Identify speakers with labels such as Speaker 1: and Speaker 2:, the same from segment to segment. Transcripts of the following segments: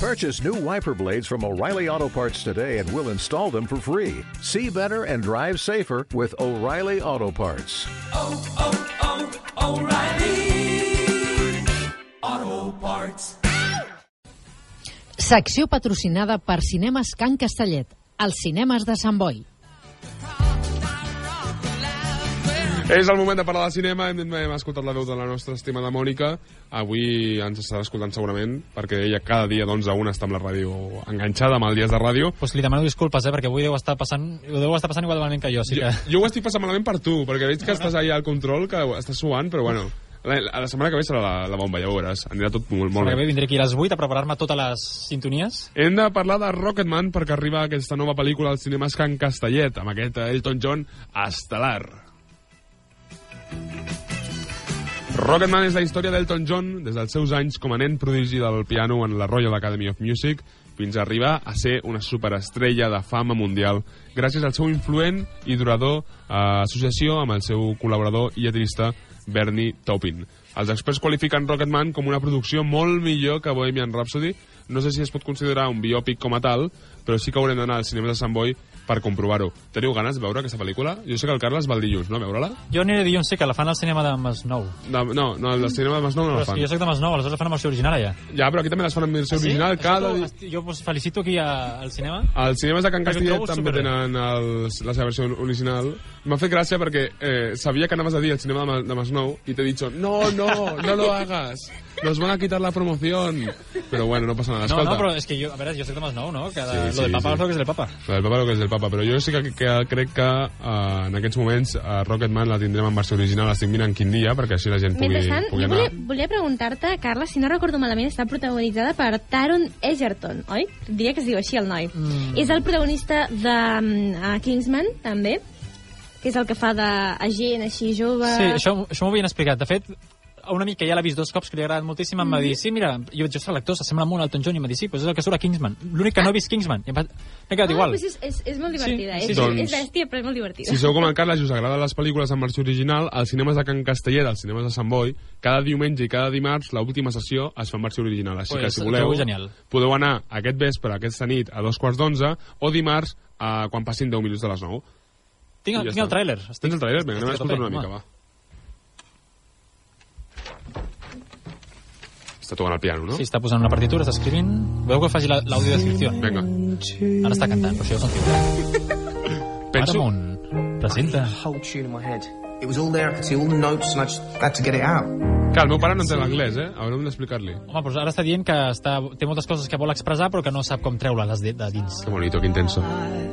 Speaker 1: Purchase new wiper blades from O'Reilly Auto Parts today and we'll install them for free. See better and drive safer with O'Reilly Auto Parts.
Speaker 2: oh, oh, O'Reilly. Auto parts.
Speaker 3: Secció patrocinada per Cinemes Can Castellet, els cinemes de Sant Boi.
Speaker 4: És el moment de parlar de cinema, hem, hem escoltat la veu de la nostra estimada Mònica. Avui ens estarà escoltant segurament, perquè ella cada dia d'11 a 1 està amb la ràdio enganxada, amb el dies de ràdio.
Speaker 5: pues li demano disculpes, eh, perquè avui deu estar passant, ho deu estar passant igual de malament que jo, sí
Speaker 4: Jo,
Speaker 5: que...
Speaker 4: jo ho estic passant malament per tu, perquè veig que estàs allà al control, que estàs suant, però bueno... La, la, la setmana que ve serà la, la bomba, ja ho veuràs. Anirà tot molt, molt
Speaker 5: Perquè
Speaker 4: bé.
Speaker 5: bé, vindré aquí a les 8 a preparar-me totes les sintonies.
Speaker 4: Hem de parlar de Rocketman perquè arriba aquesta nova pel·lícula al cinema Can Castellet, amb aquest Elton John estel·lar. Rocketman és la història d'Elton John des dels seus anys com a nen prodigi del piano en la Royal Academy of Music fins a arribar a ser una superestrella de fama mundial gràcies al seu influent i durador eh, associació amb el seu col·laborador i lletrista Bernie Taupin. Els experts qualifiquen Rocketman com una producció molt millor que Bohemian Rhapsody. No sé si es pot considerar un biòpic com a tal, però sí que haurem d'anar al cinema de Sant Boi per comprovar-ho. Teniu ganes de veure aquesta pel·lícula? Jo sé que el Carles va el dilluns, no? A veure-la?
Speaker 5: Jo aniré dilluns, sí, que la fan al cinema de Masnou.
Speaker 4: No, no, no, al cinema de Masnou no
Speaker 5: Però
Speaker 4: la
Speaker 5: és
Speaker 4: fan.
Speaker 5: que jo soc de Masnou, aleshores la fan amb versió original, allà.
Speaker 4: Ja, però aquí també les fan en versió original
Speaker 5: Ah, Això
Speaker 4: cada
Speaker 5: tu-
Speaker 4: dia.
Speaker 5: esti- Jo pues, felicito aquí a, al cinema.
Speaker 4: Els cinemes de Can
Speaker 5: Perquè
Speaker 4: Castellet
Speaker 5: trobo
Speaker 4: també
Speaker 5: superbé.
Speaker 4: tenen els, la seva versió original. M'ha fet gràcia perquè eh, sabia que anaves a dir el cinema de, Ma- de Masnou i t'he dit no, no, no lo hagas, nos van a quitar la promoción. Però bueno, no passa nada,
Speaker 5: No,
Speaker 4: escolta.
Speaker 5: no, però és que jo, a veure, jo soc de Masnou, no? Que de,
Speaker 4: Sí,
Speaker 5: lo
Speaker 4: sí,
Speaker 5: del papa,
Speaker 4: sí.
Speaker 5: lo que és el papa.
Speaker 4: Lo del papa lo que és el papa, però jo sí que, que crec que eh, en aquests moments eh, Rocketman la tindrem en versió original, estic mirant quin dia, perquè així la gent pugui,
Speaker 6: Mentrestant,
Speaker 4: pugui
Speaker 6: jo
Speaker 4: anar.
Speaker 6: volia, volia preguntar-te, Carla, si no recordo malament, està protagonitzada per Taron Egerton, oi? Diria que es diu així el noi. Mm. És el protagonista de uh, Kingsman, també, que és el que fa d'agent així jove...
Speaker 5: Sí, això, això m'ho havien explicat. De fet, a un amic que ja l'ha vist dos cops, que li ha agradat moltíssim, em va dir, sí, mira, jo vaig ser l'actor, s'assembla molt al Elton John, i em va dir, sí, però és el que surt a Kingsman. L'únic que no he vist Kingsman. I em va... M'he
Speaker 6: Ah,
Speaker 5: quedat igual.
Speaker 6: Doncs és, és, és molt divertida.
Speaker 5: sí, Doncs
Speaker 6: Sí, sí, és,
Speaker 4: sí.
Speaker 6: és bèstia, però és molt divertida.
Speaker 4: Si sou com el Carles i us agraden les pel·lícules en versió original, als cinemes de Can Castellet, als cinemes de Sant Boi, cada diumenge i cada dimarts, l'última sessió es fa en versió original. Així
Speaker 5: Pues,
Speaker 4: que, si voleu,
Speaker 5: trobo genial.
Speaker 4: podeu anar aquest vespre, aquesta nit, a dos quarts d'onze, o dimarts, a, quan passin 10 minuts de les 9. I
Speaker 5: Tinc,
Speaker 4: ja
Speaker 5: tinc
Speaker 4: està.
Speaker 5: el tràiler. Estic-
Speaker 4: Tens el trailer? Vinga,
Speaker 5: estic
Speaker 4: anem a
Speaker 5: a
Speaker 4: escoltar
Speaker 5: tope,
Speaker 4: una mica,
Speaker 5: home.
Speaker 4: va. Està tocant el piano, no?
Speaker 5: Sí, està posant una partitura, està escrivint... Veu que faci la- l'àudio descripció.
Speaker 4: Vinga.
Speaker 5: Ara està cantant, però això ja ho sentiu.
Speaker 4: Penso,
Speaker 5: Paramount presenta...
Speaker 7: whole tune in my head. It was all there, I could see all the notes, and I just had to get it out.
Speaker 4: que el meu pare no entén l'anglès, eh? Haurem d'explicar-li.
Speaker 5: Home, però ara està dient que està, té moltes coses que vol expressar, però que no sap com treure-les de, de dins.
Speaker 4: Que bonito, que intenso.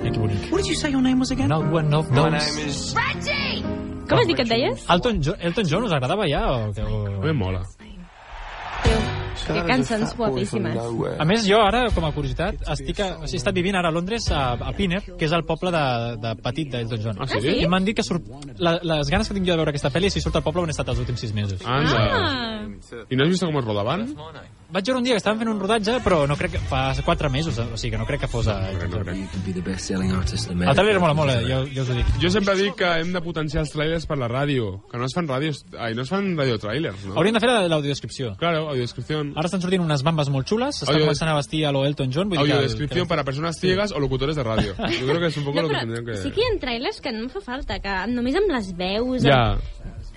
Speaker 5: Mira que bonic.
Speaker 8: What did you say your name was again?
Speaker 5: Not one of those.
Speaker 6: Com has dit que et deies?
Speaker 5: Elton John, Elton John us agradava ja? O, que-
Speaker 4: A mi
Speaker 5: o...
Speaker 4: em mola.
Speaker 6: Déu, que cançons guapíssimes.
Speaker 5: A més, jo ara, com a curiositat, estic, a, o sigui, he estat vivint ara a Londres, a, a Piner, que és el poble de, de petit d'Elton John.
Speaker 4: Ah, sí? Ah, sí?
Speaker 5: I m'han dit que surt, la, les ganes que tinc jo de veure aquesta pel·li és si surt al poble on he estat els últims sis mesos.
Speaker 4: Anda.
Speaker 6: Ah,
Speaker 4: I no has vist com es rodaven?
Speaker 5: Vaig veure un dia que estaven fent un rodatge, però no crec que fa quatre mesos, eh? o sigui que no crec que fos... A...
Speaker 4: No crec, no crec.
Speaker 5: El trailer mola molt, eh? jo, jo us ho dic.
Speaker 4: Jo sempre dic que hem de potenciar els trailers per la ràdio, que no es fan ràdios... Ai, no es fan radiotrailers, no?
Speaker 5: Hauríem de fer l'audiodescripció.
Speaker 4: Claro, audiodescripción.
Speaker 5: Ara estan sortint unes bambes molt xules, s'està
Speaker 4: Audio-
Speaker 5: començant a vestir a lo Elton John. Vull dir que el-
Speaker 4: Audiodescripción
Speaker 5: que...
Speaker 4: para personas ciegas o locutores de radio. Yo creo que es un poco
Speaker 6: no,
Speaker 4: lo que
Speaker 6: però
Speaker 4: tendrían que...
Speaker 6: sí que hi ha trailers que no em fa falta, que només amb les veus...
Speaker 4: Ja.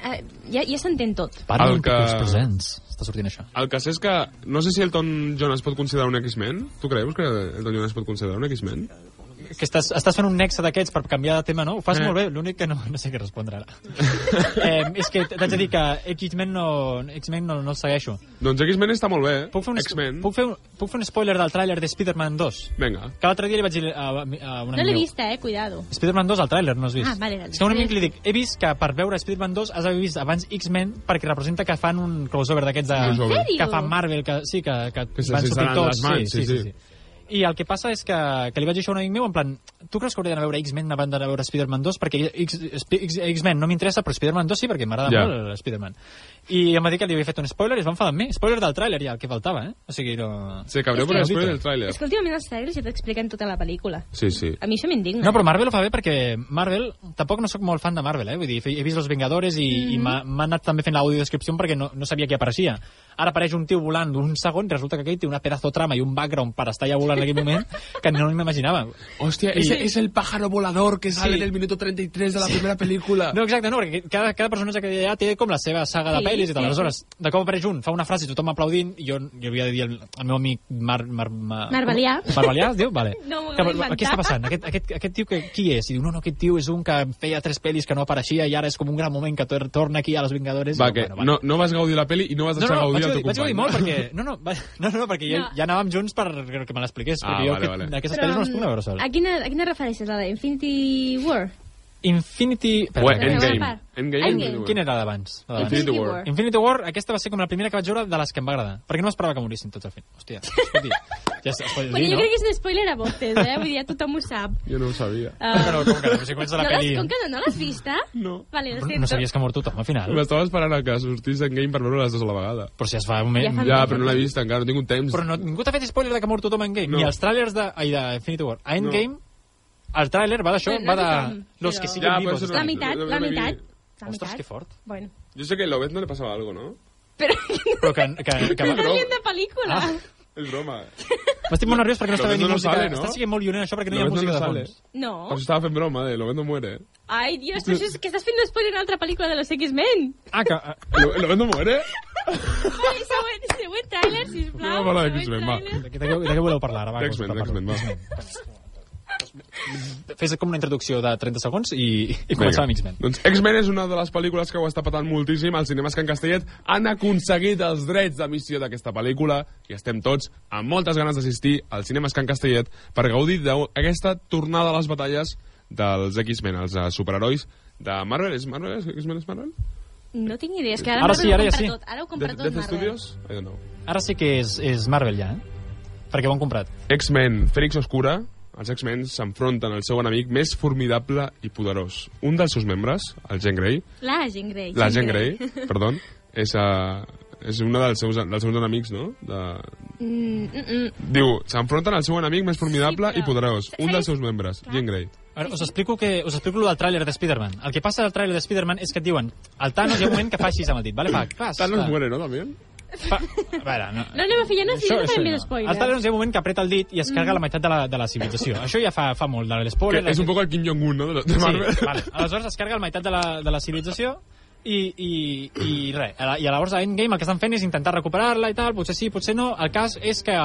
Speaker 6: Eh, ja, ja s'entén tot.
Speaker 4: El
Speaker 5: Paramount
Speaker 4: que-
Speaker 5: que... Presents. Està sortint això.
Speaker 4: El cas és que no sé si Elton John es pot considerar un X-Men. Tu creus que Elton John es pot considerar un X-Men?
Speaker 5: Que estàs, estàs fent un nexe d'aquests per canviar de tema, no? Ho fas
Speaker 4: Eh.
Speaker 5: molt bé, l'únic que no, no sé què respondre ara. eh, és que t'haig de dir que X-Men no, X-Men no, no el segueixo.
Speaker 4: Doncs X-Men està molt bé.
Speaker 5: Puc fer un,
Speaker 4: X-Men.
Speaker 5: puc fer un, puc fer un spoiler del tràiler de Spider-Man 2?
Speaker 4: Vinga.
Speaker 5: Que l'altre dia li vaig dir a, a una
Speaker 6: No l'he vista, eh? Cuidado.
Speaker 5: Spider-Man 2 al tràiler, no has vist?
Speaker 6: Ah, vale, vale.
Speaker 5: És que a un amic li dic, he vist que per veure Spider-Man 2 has d'haver vist abans X-Men perquè representa que fan un crossover d'aquests de...
Speaker 4: Crossover.
Speaker 6: En sèrio?
Speaker 5: que fa Marvel, que sí, que, que,
Speaker 4: Que se
Speaker 5: van
Speaker 4: sensaran
Speaker 5: sortir tots.
Speaker 4: les mans, sí, sí.
Speaker 5: I el que passa és que, que li vaig dir això a un amic meu, en plan, Tu creus que hauria d'anar a veure X-Men abans d'anar a veure Spider-Man 2? Perquè X- Sp- X- X-Men no m'interessa, però Spider-Man 2 sí, perquè m'agrada
Speaker 4: Ja.
Speaker 5: molt el Spider-man. I em va dir que li havia fet un spoiler i es va enfadar amb mi. Spoiler del tràiler, ja, el que faltava, eh? O sigui, no...
Speaker 4: Se cabreu per l'espoiler del tràiler.
Speaker 6: És que últimament els trailers ja t'expliquen tota la pel·lícula.
Speaker 4: Sí, sí.
Speaker 6: A mi això m'indigna.
Speaker 5: No, però Marvel ho fa bé perquè Marvel... Tampoc no sóc molt fan de Marvel, eh? Vull dir, he vist Los Vengadores i, mm -hmm. i m'ha- m'ha anat també fent l'audiodescripció perquè no, no sabia qui apareixia. Ara apareix un tio volant un segon, resulta que aquell té una pedazo de trama i un background per estar allà volant en aquell moment que no m'imaginava.
Speaker 8: Hostia, ese es el pájaro volador que sale
Speaker 5: Sí.
Speaker 8: del minuto 33 de la primera película.
Speaker 5: No, exacte, no, perquè cada, cada personatge que hi ha té com la seva saga de
Speaker 6: Sí,
Speaker 5: pel·lis i tal.
Speaker 6: sí, sí.
Speaker 5: Aleshores, de cop apareix un, fa una frase i tothom aplaudint, i jo, jo havia de dir al, al meu amic Mar... Mar, Mar
Speaker 6: Marvelià.
Speaker 5: Marvelià, es diu? Vale.
Speaker 6: No m'ho
Speaker 5: que,
Speaker 6: vull inventar.
Speaker 5: què està passant? Aquest, aquest, aquest tio que, qui és? I diu, no, no, aquest tio és un que feia tres pel·lis que no apareixia i ara és com un gran moment que tor torna aquí a Los Vengadores.
Speaker 4: Va,
Speaker 5: I,
Speaker 4: que no, no vas gaudir la peli i no vas
Speaker 5: No,
Speaker 4: deixar
Speaker 5: no, no,
Speaker 4: gaudir
Speaker 5: vaig,
Speaker 4: el teu
Speaker 5: gaudir- vaig gaudir
Speaker 4: company.
Speaker 5: molt perquè... No, no, va, no, no, perquè ja,
Speaker 6: No.
Speaker 5: ja anàvem junts per que me l'expliqués,
Speaker 4: Ah,
Speaker 5: perquè jo
Speaker 4: vale,
Speaker 5: aquest-
Speaker 4: vale.
Speaker 5: aquestes pel·lis no les puc anar a veure sol.
Speaker 6: mm, A quina, a quina refereixes? A la d'Infinity War?
Speaker 5: Infinity... Espera,
Speaker 4: Ué,
Speaker 5: espera.
Speaker 6: Endgame.
Speaker 4: Endgame. Endgame.
Speaker 6: Endgame.
Speaker 5: Quina era la d'abans? La d'abans?
Speaker 4: Ah, Infinity War.
Speaker 5: Infinity War, aquesta va ser com la primera que vaig veure de les que em va agradar. Perquè no m'esperava que morissin tots al final. Hòstia, escolti, ja es, es pot
Speaker 6: Bueno,
Speaker 5: dir,
Speaker 6: jo
Speaker 5: no?
Speaker 6: crec que és un spoiler a voltes, eh? Vull dir, ja tothom ho sap.
Speaker 4: Jo no ho sabia.
Speaker 6: Uh,
Speaker 5: No, no, com que no? Si comença la
Speaker 6: no l'has-
Speaker 5: peli...
Speaker 6: Com que no, no l'has vista?
Speaker 4: No.
Speaker 6: Vale,
Speaker 5: Però
Speaker 6: lo
Speaker 5: No
Speaker 6: siento.
Speaker 5: sabies que ha mort tothom, al final.
Speaker 4: Ah. M'estava esperant a que sortís Endgame per veure les dues a la vegada.
Speaker 5: Però si es fa un moment...
Speaker 6: Ja fa-
Speaker 4: Ja, però Ah, no l'he vist encara, no he tingut temps.
Speaker 5: Però no, ningú t'ha fet spoiler de que ha mort tothom a Endgame.
Speaker 4: No.
Speaker 5: Ni els tràilers de, ai, de Infinity War. A Endgame, el tràiler va d'això,
Speaker 6: No, no
Speaker 5: va de...
Speaker 6: tothom,
Speaker 5: Los
Speaker 6: però-
Speaker 5: que siguen
Speaker 4: Ja, però
Speaker 5: vivos.
Speaker 4: això no-
Speaker 6: La meitat,
Speaker 4: no, no,
Speaker 6: la
Speaker 4: no, no,
Speaker 6: meitat. La
Speaker 5: Ostres,
Speaker 6: meitat.
Speaker 5: que fort.
Speaker 6: Bueno.
Speaker 4: Jo sé que a Lovett no li passava alguna cosa, no?
Speaker 6: Però...
Speaker 5: Però que... que, que
Speaker 6: Estàs
Speaker 5: va...
Speaker 4: Ah, Però-
Speaker 6: dient de pel·lícula.
Speaker 5: Ah.
Speaker 4: És broma.
Speaker 5: M'estic molt nerviós perquè no
Speaker 4: Lo que
Speaker 5: està veient
Speaker 4: no
Speaker 5: ni
Speaker 4: no
Speaker 5: música.
Speaker 4: sale, no?
Speaker 5: Està siguent molt lioner, això, perquè no hi
Speaker 4: Lo
Speaker 5: ha
Speaker 4: que no
Speaker 5: música de
Speaker 4: sale.
Speaker 5: fons.
Speaker 6: No.
Speaker 4: Per això estava fent broma, de Lovett no muere.
Speaker 6: Ai, Dios, però això és que estàs fent un spoiler a una altra pel·lícula de los X-Men.
Speaker 5: Ah, que...
Speaker 4: Lo- Lovett no muere?
Speaker 6: Ai, següent, següent tràiler, sisplau.
Speaker 4: No, va, la de
Speaker 6: següent
Speaker 4: X-Men, va.
Speaker 6: tràiler.
Speaker 5: De què, de què- de què voleu parlar ara? Va,
Speaker 4: X-Men,
Speaker 5: que us
Speaker 4: X-Men,
Speaker 5: parlo.
Speaker 4: va.
Speaker 5: X-Men. Fes com una introducció de 30 segons i, i començar amb X-Men.
Speaker 4: Doncs X-Men és una de les pel·lícules que ho està patant moltíssim. Els cinemes Can Castellet han aconseguit els drets d'emissió d'aquesta pel·lícula i estem tots amb moltes ganes d'assistir als cinemes Can Castellet per gaudir d'aquesta tornada a les batalles dels X-Men, els eh, superherois de Marvel. És Marvel? És X-Men és Marvel?
Speaker 6: No tinc idea, és que ara,
Speaker 5: Ara
Speaker 6: Marvel
Speaker 5: sí,
Speaker 6: ho
Speaker 5: ara ja
Speaker 6: compra
Speaker 5: sí.
Speaker 6: Tot. Ara ho compra tot
Speaker 4: Death
Speaker 6: Marvel.
Speaker 4: Studios? I don't know.
Speaker 5: Ara sí que és, és Marvel ja, eh? Perquè ho han comprat.
Speaker 4: X-Men, Fènix Oscura, els X-Men s'enfronten al seu enemic més formidable i poderós. Un dels seus membres, el Jean Grey,
Speaker 6: La Jean Grey.
Speaker 4: la Jean Grey, perdó, és, uh, és una dels seus, dels seus enemics, no? De...
Speaker 6: Mm, mm, mm.
Speaker 4: Diu, s'enfronten al seu enemic més formidable
Speaker 6: Sí, però-
Speaker 4: i poderós. Un dels seus membres,
Speaker 6: Clar.
Speaker 4: Jean Grey.
Speaker 5: Ara, us explico, que, us explico lo del tràiler de Spider-Man. El que passa al tràiler de Spider-Man és que et diuen el Thanos hi ha un moment que fa així amb el dit, vale? Fa, clar,
Speaker 4: Thanos
Speaker 5: clar.
Speaker 4: muere, no, també?
Speaker 5: Fa... A veure, no...
Speaker 6: No anem a fer ja no, si no farem més
Speaker 5: El
Speaker 6: spoilers. Mm.
Speaker 5: Thanos hi ha un moment que apreta el dit i es carga la meitat de la, de la civilització. Això ja fa, fa molt de
Speaker 4: Que
Speaker 5: l'espoiler.
Speaker 4: és un poc el Kim Jong-un, no? De, de Marvel.
Speaker 5: Sí, vale. Aleshores es carga la meitat de la, de la civilització i, i, i res. A la- I llavors a Endgame el que estan fent és intentar recuperar-la i tal, potser sí, potser no. El cas és que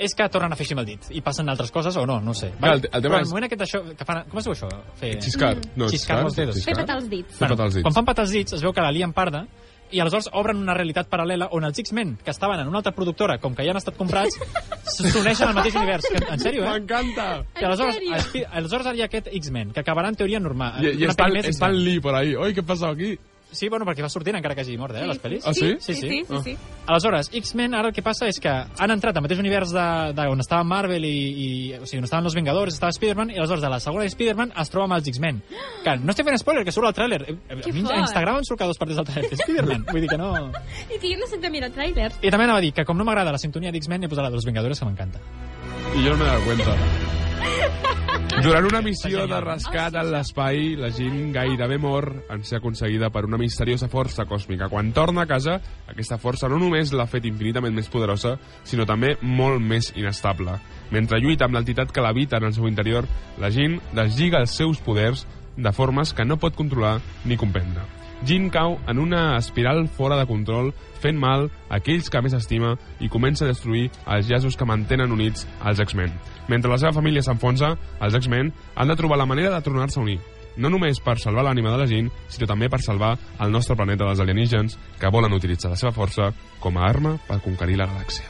Speaker 5: és que tornen a fer així amb el dit i passen altres coses o no, no ho sé.
Speaker 4: Clar, el te- el tema
Speaker 5: Però
Speaker 4: és-
Speaker 5: el moment aquest d'això... que Fan... Com es diu això? Fer...
Speaker 4: Xiscar. No,
Speaker 5: Xiscar amb els dedos.
Speaker 6: Fer petar els dits.
Speaker 4: Fer petar els dits.
Speaker 5: Quan fan petar els dits es veu que la lien parda i aleshores obren una realitat paral·lela on els X-Men, que estaven en una altra productora, com que ja han estat comprats, s'uneixen al mateix univers. Que, en sèrio, eh?
Speaker 4: M'encanta!
Speaker 5: Que aleshores,
Speaker 6: sèrio?
Speaker 5: a Spi- aleshores ara hi ha aquest X-Men, que acabarà en teoria normal.
Speaker 4: I, i
Speaker 5: Una
Speaker 4: estan,
Speaker 5: pell més
Speaker 4: estan
Speaker 5: X-Men.
Speaker 4: Lee per ahí. Oi, què passa aquí?
Speaker 5: Sí, bueno, perquè va sortint encara que hagi mort, eh, les pel·lis.
Speaker 4: Ah, sí?
Speaker 5: Sí, sí.
Speaker 6: sí, sí, sí.
Speaker 5: Aleshores, X-Men, ara el que passa és que han entrat al mateix univers de, de on estava Marvel i, i... O sigui, on estaven los Vengadores, estava Spider-Man, i aleshores de la segona de Spider-Man es troba amb els X-Men. Que no estic fent spoiler, que surt el tràiler. Eh, eh,
Speaker 6: Que
Speaker 5: A mi
Speaker 6: fort.
Speaker 5: a Instagram em surt cada dos partits del tràiler de Spider-Man. Vull dir que no...
Speaker 6: I que jo no sé de mirar trailers.
Speaker 5: I també anava a dir que com no m'agrada la sintonia d'X-Men, he posat la dels Vengadores, que m'encanta.
Speaker 4: I jo no m'he donat cuenta. Durant una missió de rescat en l'espai, la gent gairebé mor en ser aconseguida per una misteriosa força còsmica. Quan torna a casa, aquesta força no només l'ha fet infinitament més poderosa, sinó també molt més inestable. Mentre lluita amb l'entitat que l'habita en el seu interior, la gent deslliga els seus poders de formes que no pot controlar ni comprendre. Jin cau en una espiral fora de control, fent mal a aquells que més estima i comença a destruir els llaços que mantenen units als X-Men. Mentre la seva família s'enfonsa, els X-Men han de trobar la manera de tornar-se a unir. No només per salvar l'ànima de la gent, sinó també per salvar el nostre planeta dels alienígens que volen utilitzar la seva força com a arma per conquerir la galàxia.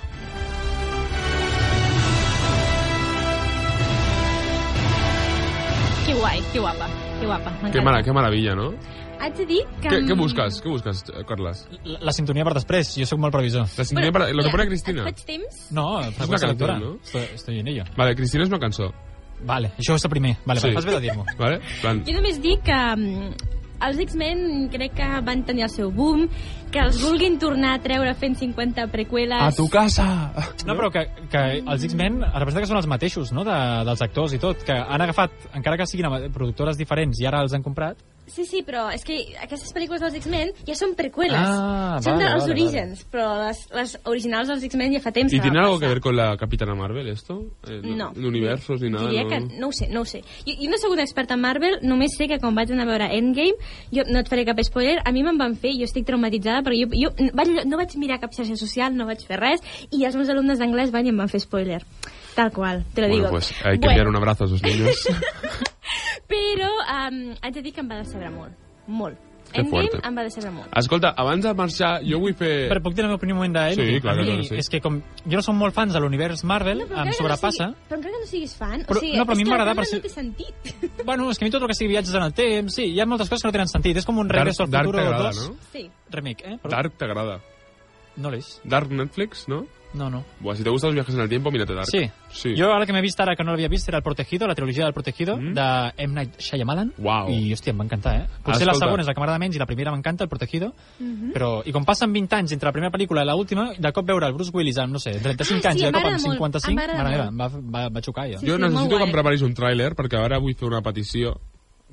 Speaker 6: Que guai, que guapa, que guapa.
Speaker 4: Que, mara, que meravella, no?
Speaker 6: Haig de dir que... mm,
Speaker 4: Què, què busques? Què busques, eh, Carles?
Speaker 5: La, la sintonia per després, jo sóc molt previsor.
Speaker 4: La sintonia per... Lo que pone Cristina.
Speaker 6: Et faig temps?
Speaker 5: No, freqüència
Speaker 4: cantant,
Speaker 5: lectora.
Speaker 4: no?
Speaker 5: Estoy, estoy en ello.
Speaker 4: Vale, Cristina és una cançó.
Speaker 5: Vale, això és el primer. Vale,
Speaker 4: Sí.
Speaker 5: sí. vas bé de dir-m'ho.
Speaker 4: Vale? Plan,
Speaker 6: Jo només dic que mm, els X-Men crec que van tenir el seu boom, que els vulguin tornar a treure fent 50 prequeles...
Speaker 4: Ah,
Speaker 8: A tu casa.
Speaker 5: No, però que, que els X-Men representa que són els mateixos, no?, de, dels actors i tot, que han agafat, encara que siguin ama- productores diferents i ara els han comprat,
Speaker 6: Sí, sí, però és que aquestes pel·lícules dels X-Men ja són prequeles.
Speaker 5: Ah,
Speaker 6: són
Speaker 5: vale,
Speaker 6: dels
Speaker 5: vale,
Speaker 6: orígens, però les, les originals dels X-Men ja fa temps
Speaker 4: ¿Y
Speaker 6: que
Speaker 4: tiene
Speaker 6: va
Speaker 4: algo que
Speaker 6: passar.
Speaker 4: ver con la Capitana Marvel esto? Eh,
Speaker 6: No.
Speaker 4: ¿En universos ni nada?
Speaker 6: Diria
Speaker 4: no?
Speaker 6: que no ho sé, no ho sé. Jo, jo no he sigut experta en Marvel, només sé que quan vaig anar a veure Endgame, jo no et faré cap spoiler, a mi me'n van fer, jo estic traumatitzada, perquè jo, jo n- vaig, no vaig mirar cap xarxa social, no vaig fer res, i els meus alumnes d'anglès van i em van fer spoiler. Tal qual, te lo
Speaker 4: Bueno,
Speaker 6: digo.
Speaker 4: pues hay que enviar un abrazo a esos niños.
Speaker 6: Però um, haig de dir que em va decebre molt, molt.
Speaker 4: Que
Speaker 6: Endgame
Speaker 4: fuerte.
Speaker 6: em va decebre molt.
Speaker 4: Escolta, abans de marxar, jo vull fer...
Speaker 5: Però puc dir el meu primer moment d'Endgame?
Speaker 4: Sí, clar,
Speaker 5: A mi
Speaker 4: clar, sí.
Speaker 5: És que com jo no som molt fans de l'univers Marvel,
Speaker 6: Però
Speaker 5: em
Speaker 6: encara que
Speaker 5: sobrepassa.
Speaker 6: No sigui, però encara que no siguis fan,
Speaker 5: Però-
Speaker 6: o sigui,
Speaker 5: no, però a mi
Speaker 6: és que la
Speaker 5: m'agrada per
Speaker 6: trama
Speaker 5: ser-
Speaker 6: no té sentit.
Speaker 5: Bueno, és que a mi tot el que sigui viatges en el temps, sí, hi ha moltes coses que no tenen sentit. És com un
Speaker 4: Dark,
Speaker 5: regreso al
Speaker 4: Dark
Speaker 5: futuro
Speaker 4: t'agrada,
Speaker 5: 2.
Speaker 4: no?
Speaker 6: Sí.
Speaker 5: Remake, eh? Però
Speaker 4: Dark t'agrada.
Speaker 5: No l'és.
Speaker 4: Dark Netflix, ¿no?
Speaker 5: No, no.
Speaker 4: Buah, si te gustan los viajes en el tiempo, mírate Dark.
Speaker 5: Sí.
Speaker 4: Sí.
Speaker 5: Jo ara que m'he vist, ara que no l'havia vist, era El Protegido, la trilogia del Protegido, mm. de M. Night Shyamalan.
Speaker 4: Uau.
Speaker 5: I, hòstia, em va encantar, eh?
Speaker 4: Escolta.
Speaker 5: Potser la segona és la que m'agrada menys i la primera m'encanta, El Protegido.
Speaker 6: Mhm.
Speaker 5: Mm -hmm. però, I com passen 20 anys entre la primera pel·lícula i l'última, de cop veure el Bruce Willis amb, no sé, 35
Speaker 6: Ah,
Speaker 5: anys
Speaker 6: sí,
Speaker 5: i de
Speaker 6: em
Speaker 5: cop amb
Speaker 6: agrada molt.
Speaker 5: 55,
Speaker 6: Em agrada
Speaker 5: mare meva, em va, va, va xocar, jo.
Speaker 6: Sí,
Speaker 4: jo
Speaker 6: sí, molt
Speaker 4: necessito
Speaker 6: guai.
Speaker 4: que em preparis un tràiler, perquè ara vull fer una petició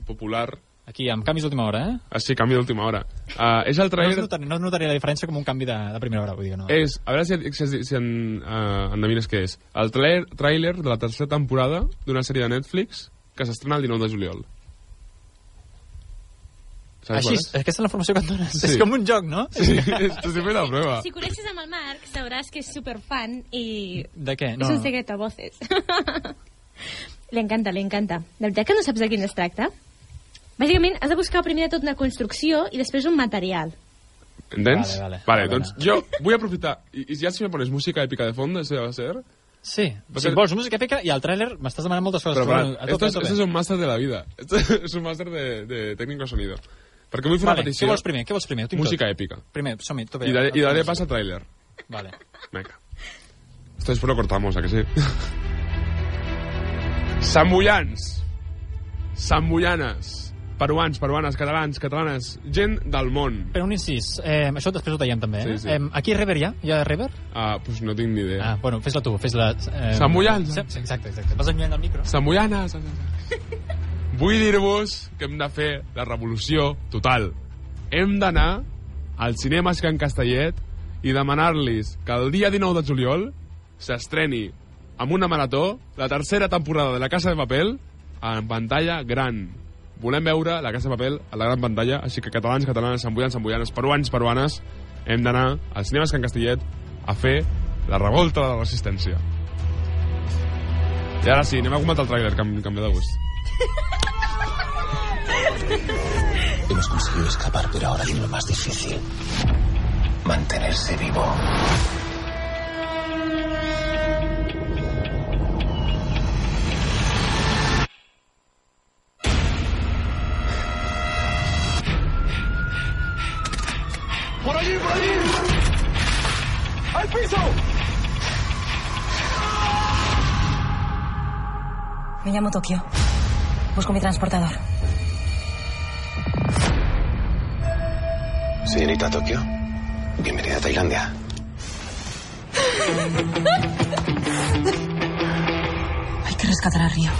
Speaker 4: popular.
Speaker 5: Aquí, amb canvis d'última hora, eh?
Speaker 4: Així, canvi d'última hora. Uh, és el
Speaker 5: No es,
Speaker 4: tràiler...
Speaker 5: notaria, no es notaria la diferència com un canvi de, de primera hora, vull dir que no.
Speaker 4: És, a veure si, si, si en, uh, endevines què és. El tràiler tràiler de la tercera temporada d'una sèrie de Netflix que s'estrena el 19 de juliol. Saps
Speaker 5: Així,
Speaker 4: Així és.
Speaker 5: és, aquesta és la informació que et dones.
Speaker 4: Sí.
Speaker 5: Sí. És com un joc, no?
Speaker 4: Sí, t'estic fent la
Speaker 5: Ah.
Speaker 4: prova.
Speaker 6: Si coneixes amb el Marc, sabràs que és superfan i...
Speaker 5: De què?
Speaker 6: No. És un secret a voces. li encanta, li encanta. De veritat que no saps de quin es tracta? Bàsicament, has de buscar primer de tot una construcció i després un material.
Speaker 4: Entens?
Speaker 5: Vale, vale.
Speaker 4: vale
Speaker 5: Vale,
Speaker 4: doncs jo vull aprofitar... I, I ja si me pones música èpica de fondo, això ja va ser...
Speaker 5: Sí.
Speaker 4: Perquè-
Speaker 5: Si vols música èpica i el tràiler m'estàs demanant moltes coses.
Speaker 4: Però,
Speaker 5: però
Speaker 4: però,
Speaker 5: bueno, a
Speaker 4: esto,
Speaker 5: tope, a
Speaker 4: es,
Speaker 5: tope.
Speaker 4: esto es un máster de la vida. Esto es un máster de, de técnico sonido. Perquè vull fer una
Speaker 5: Vale, què
Speaker 4: petició...
Speaker 5: vols primer? Què vols primer? Ho tinc
Speaker 4: Música
Speaker 5: tot.
Speaker 4: èpica.
Speaker 5: Primer, som-hi, tope.
Speaker 4: I daré, i daré pas al tràiler.
Speaker 5: Vale.
Speaker 4: Venga. Esto después lo cortamos, ¿a que sí? Sambullans, sambullanes, peruans, peruanes, catalans, catalanes, gent del món.
Speaker 5: Però un incís, eh, això després ho tallem també, eh?
Speaker 4: Sí, sí.
Speaker 5: Eh, aquí és Rever ja? Hi ha Rever?
Speaker 4: Ah, pues no tinc ni idea.
Speaker 5: Ah, bueno, fes-la tu, fes-la... Eh,
Speaker 4: S'embullant.
Speaker 5: Sí, sí, Exacte, exacte. Vas enlluent el micro.
Speaker 4: Sambullanes. Vull dir-vos que hem de fer la revolució total. Hem d'anar al cinema Can Castellet i demanar-los que el dia 19 de juliol s'estreni amb una marató la tercera temporada de La Casa de Papel en pantalla gran. Volem veure La Casa de Papel a la gran pantalla, així que catalans, catalanes, sambullans, sambullanes, peruans, peruanes, hem d'anar al cinema Can Castellet a fer la revolta de la resistència. I ara sí, anem a comentar el tràiler, que em, que em ve de gust.
Speaker 9: Hemos conseguido escapar, pero ahora viene lo más difícil. Mantenerse vivo.
Speaker 10: Me llamo Tokio. Busco mi transportador.
Speaker 9: Señorita Tokio, bienvenida a Tailandia.
Speaker 10: Hay que rescatar a Río.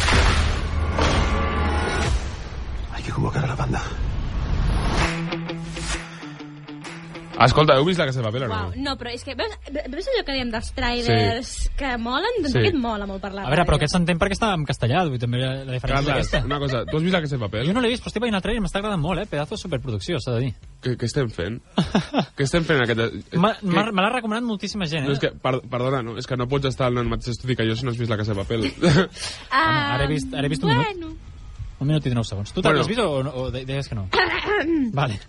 Speaker 9: Hay que convocar a la banda.
Speaker 4: Escolta, heu vist la Casa de Papel o no?
Speaker 6: Uau, no, però és que veus, veus allò que dèiem dels trailers sí. que molen?
Speaker 4: Sí.
Speaker 6: Doncs sí. aquest mola molt parlar.
Speaker 5: A veure, però aquest s'entén perquè està en castellà, vull dir, també la la diferència
Speaker 4: Carles,
Speaker 5: aquesta.
Speaker 4: una cosa, tu has vist la Casa de Papel?
Speaker 5: Jo no l'he vist, però estic veient el tràiler i m'està agradant molt, eh? Pedazo de superproducció, s'ha de dir.
Speaker 4: Què, què estem fent? què estem fent en aquest...
Speaker 5: Ma-
Speaker 4: que-
Speaker 5: ma- Me l'ha recomanat moltíssima gent,
Speaker 4: No, Eh, és
Speaker 5: eh?
Speaker 4: que, per, perdona, no, és que no pots estar en el mateix estudi que jo si no has vist la Casa de Papel.
Speaker 6: Ah,
Speaker 5: ara he vist- ara he vist un
Speaker 6: bueno,
Speaker 5: Un minut i 19 segons. Tu
Speaker 4: Bueno.
Speaker 5: t'has vist o, o de- deies que no? Vale.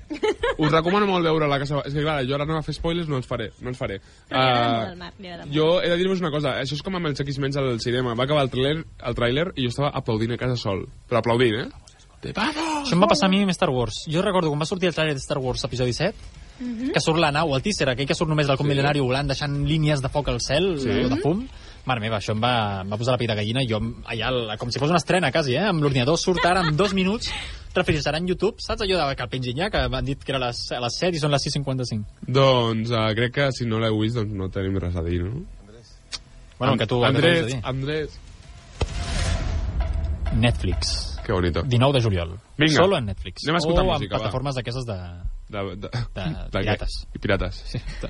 Speaker 4: Us recomano molt veure la Casa de Papel. És que, clar, jo ara no a fer spoilers, no els faré. No els faré.
Speaker 6: Però li agrada molt
Speaker 4: Ah,
Speaker 6: al Marc, li agrada molt.
Speaker 4: jo he de dir-vos una cosa, això és com amb els X-Men's al cinema. Va acabar el tràiler, el tràiler i jo estava aplaudint a casa sol. Però aplaudint, eh? Te vamos!
Speaker 5: Això em va passar a mi amb Star Wars. Jo recordo quan va sortir el tràiler de Star Wars episodi 7, que surt la nau, el teaser, aquell que surt només del com milionari volant, deixant línies de foc al cel, sí. de fum, Mare meva, això em va, em va posar la pell de gallina i jo allà, la- com si fos una estrena quasi, eh? Amb l'ordinador surt ara en dos minuts, refrescarà en YouTube, saps allò de que el pengin ja, que han dit que era a les, a les 7 i són les 6.55.
Speaker 4: Doncs eh, crec que si no l'heu vist doncs no tenim res a dir, no?
Speaker 5: Bueno, que tu... que tu
Speaker 4: Andrés,
Speaker 5: has de dir.
Speaker 4: Andrés.
Speaker 5: Netflix.
Speaker 4: Que bonito.
Speaker 5: 19 de juliol.
Speaker 4: Vinga.
Speaker 5: Solo en Netflix.
Speaker 4: Anem a escoltar
Speaker 5: o
Speaker 4: música,
Speaker 5: en
Speaker 4: va.
Speaker 5: plataformes d'aquestes de...
Speaker 4: De, de, de,
Speaker 5: de pirates.
Speaker 4: què? Pirates.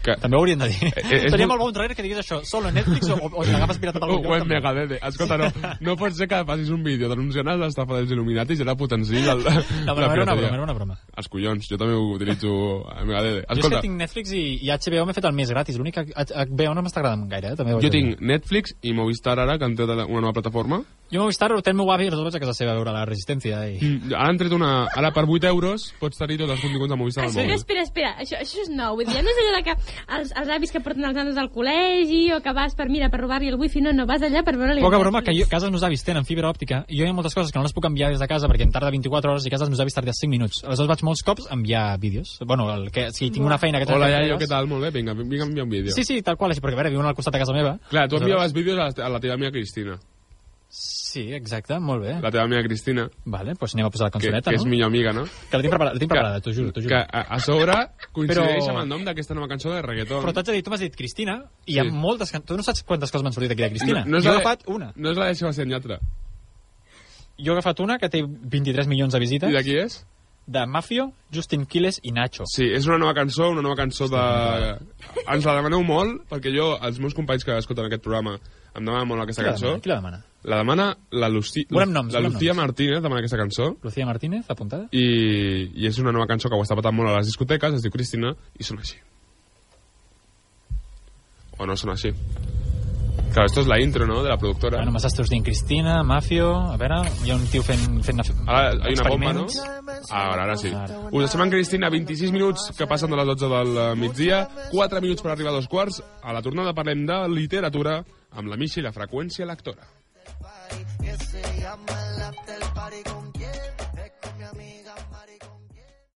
Speaker 4: Que-
Speaker 5: També ho hauríem de dir.
Speaker 4: Eh, és
Speaker 5: Eh, Seria
Speaker 4: molt-
Speaker 5: molt bon trailer que digués això, solo en Netflix o, o si l'agafes piratat a
Speaker 4: O
Speaker 5: algun lloc.
Speaker 4: en
Speaker 5: també.
Speaker 4: Megadede. oh, eh, Escolta, no, no pot ser que facis un vídeo denunciant les estafes dels Illuminatis i ara potenciïs el,
Speaker 5: No,
Speaker 4: la
Speaker 5: però era una
Speaker 4: pirateria.
Speaker 5: broma, era una broma.
Speaker 4: Els collons, jo també ho utilitzo a Megadede.
Speaker 5: Jo és
Speaker 4: Escolta,
Speaker 5: que tinc Netflix i, i HBO m'he fet el més gratis. L'únic que H- HBO no m'està agradant gaire, eh? també ho haig
Speaker 4: jo
Speaker 5: de dir.
Speaker 4: tinc Netflix i Movistar ara, que han tret una nova plataforma.
Speaker 5: Jo m'ho estar, ho té el meu avi i nosaltres a casa seva a veure la resistència. I...
Speaker 4: Mm, Ara han tret una... Ara per 8 euros pots tenir tots els continguts de
Speaker 5: Ah,
Speaker 4: Movistar al
Speaker 6: Espera,
Speaker 4: mòbil.
Speaker 6: espera, espera, això, això és nou. Vull dir, ja no és allò de que els, els avis que porten els nanos al col·legi o que vas per, mira, per robar-li el wifi, no, no, vas allà per
Speaker 4: Mm.
Speaker 6: veure-li...
Speaker 5: Poca broma, que jo, cases meus avis tenen fibra òptica i jo hi ha moltes coses que no les puc enviar des de casa perquè em tarda 24 hores i cases meus avis tarda 5 minuts. Aleshores vaig molts cops a enviar vídeos. Bueno, el que, si tinc una feina que...
Speaker 4: Hola, iaio, què tal? Molt bé, vinga, vinga, envia un vídeo.
Speaker 5: Sí, sí, tal qual, així, perquè a veure, viuen al costat de casa meva.
Speaker 4: Clar, tu enviaves vídeos a la, a la teva amiga Cristina.
Speaker 5: Sí, exacte, molt bé.
Speaker 4: La teva amiga Cristina,
Speaker 5: Vale, doncs anem a posar la
Speaker 4: que,
Speaker 5: cançoneta,
Speaker 4: que és
Speaker 5: no?
Speaker 4: millor amiga, no?
Speaker 5: Que la tinc preparada, la tinc preparada, t'ho juro, t'ho
Speaker 4: Que
Speaker 5: juro.
Speaker 4: a, a sobre coincideix
Speaker 5: Però-
Speaker 4: amb el nom d'aquesta nova cançó de reggaeton.
Speaker 5: Però t'haig de dir, tu m'has dit Cristina, i hi ha
Speaker 4: Sí.
Speaker 5: moltes... can- Tu no saps quantes coses m'han sortit aquí de Cristina.
Speaker 4: No, no és
Speaker 5: jo he
Speaker 4: la de-
Speaker 5: agafat una.
Speaker 4: No és la de Sebastián Yatra.
Speaker 5: Jo he agafat una que té 23 milions de visites.
Speaker 4: I de qui és?
Speaker 5: De Mafio, Justin Quiles i Nacho.
Speaker 4: Sí, és una nova cançó, una nova cançó de... Ens la demaneu molt, perquè jo, els meus companys que escolten aquest programa, em demanen molt aquesta
Speaker 5: Qui la
Speaker 4: cançó.
Speaker 5: demana? Qui la demana?
Speaker 4: La demana la, Luci...
Speaker 5: Volem noms,
Speaker 4: la
Speaker 5: volem
Speaker 4: Lucía
Speaker 5: noms.
Speaker 4: Martínez, demana aquesta cançó,
Speaker 5: Lucía Martínez, apuntada?
Speaker 4: i, i és una nova cançó que ho està patant molt a les discoteques, es diu Cristina, i són així. O no són així. Claro, esto es la intro, ¿no?, de la productora.
Speaker 5: Bueno, m'estàs tots dient Cristina, Mafio... A veure, hi ha un tio fent... fent
Speaker 4: Ara hi ha una bomba, no?
Speaker 5: experiments.
Speaker 4: Ara, ara sí. Us deixem en Cristina, 26 minuts que passen de les 12 del eh, migdia, 4 minuts per arribar a dos quarts. A la tornada parlem de literatura amb la Misha i la freqüència lectora.
Speaker 11: que se llama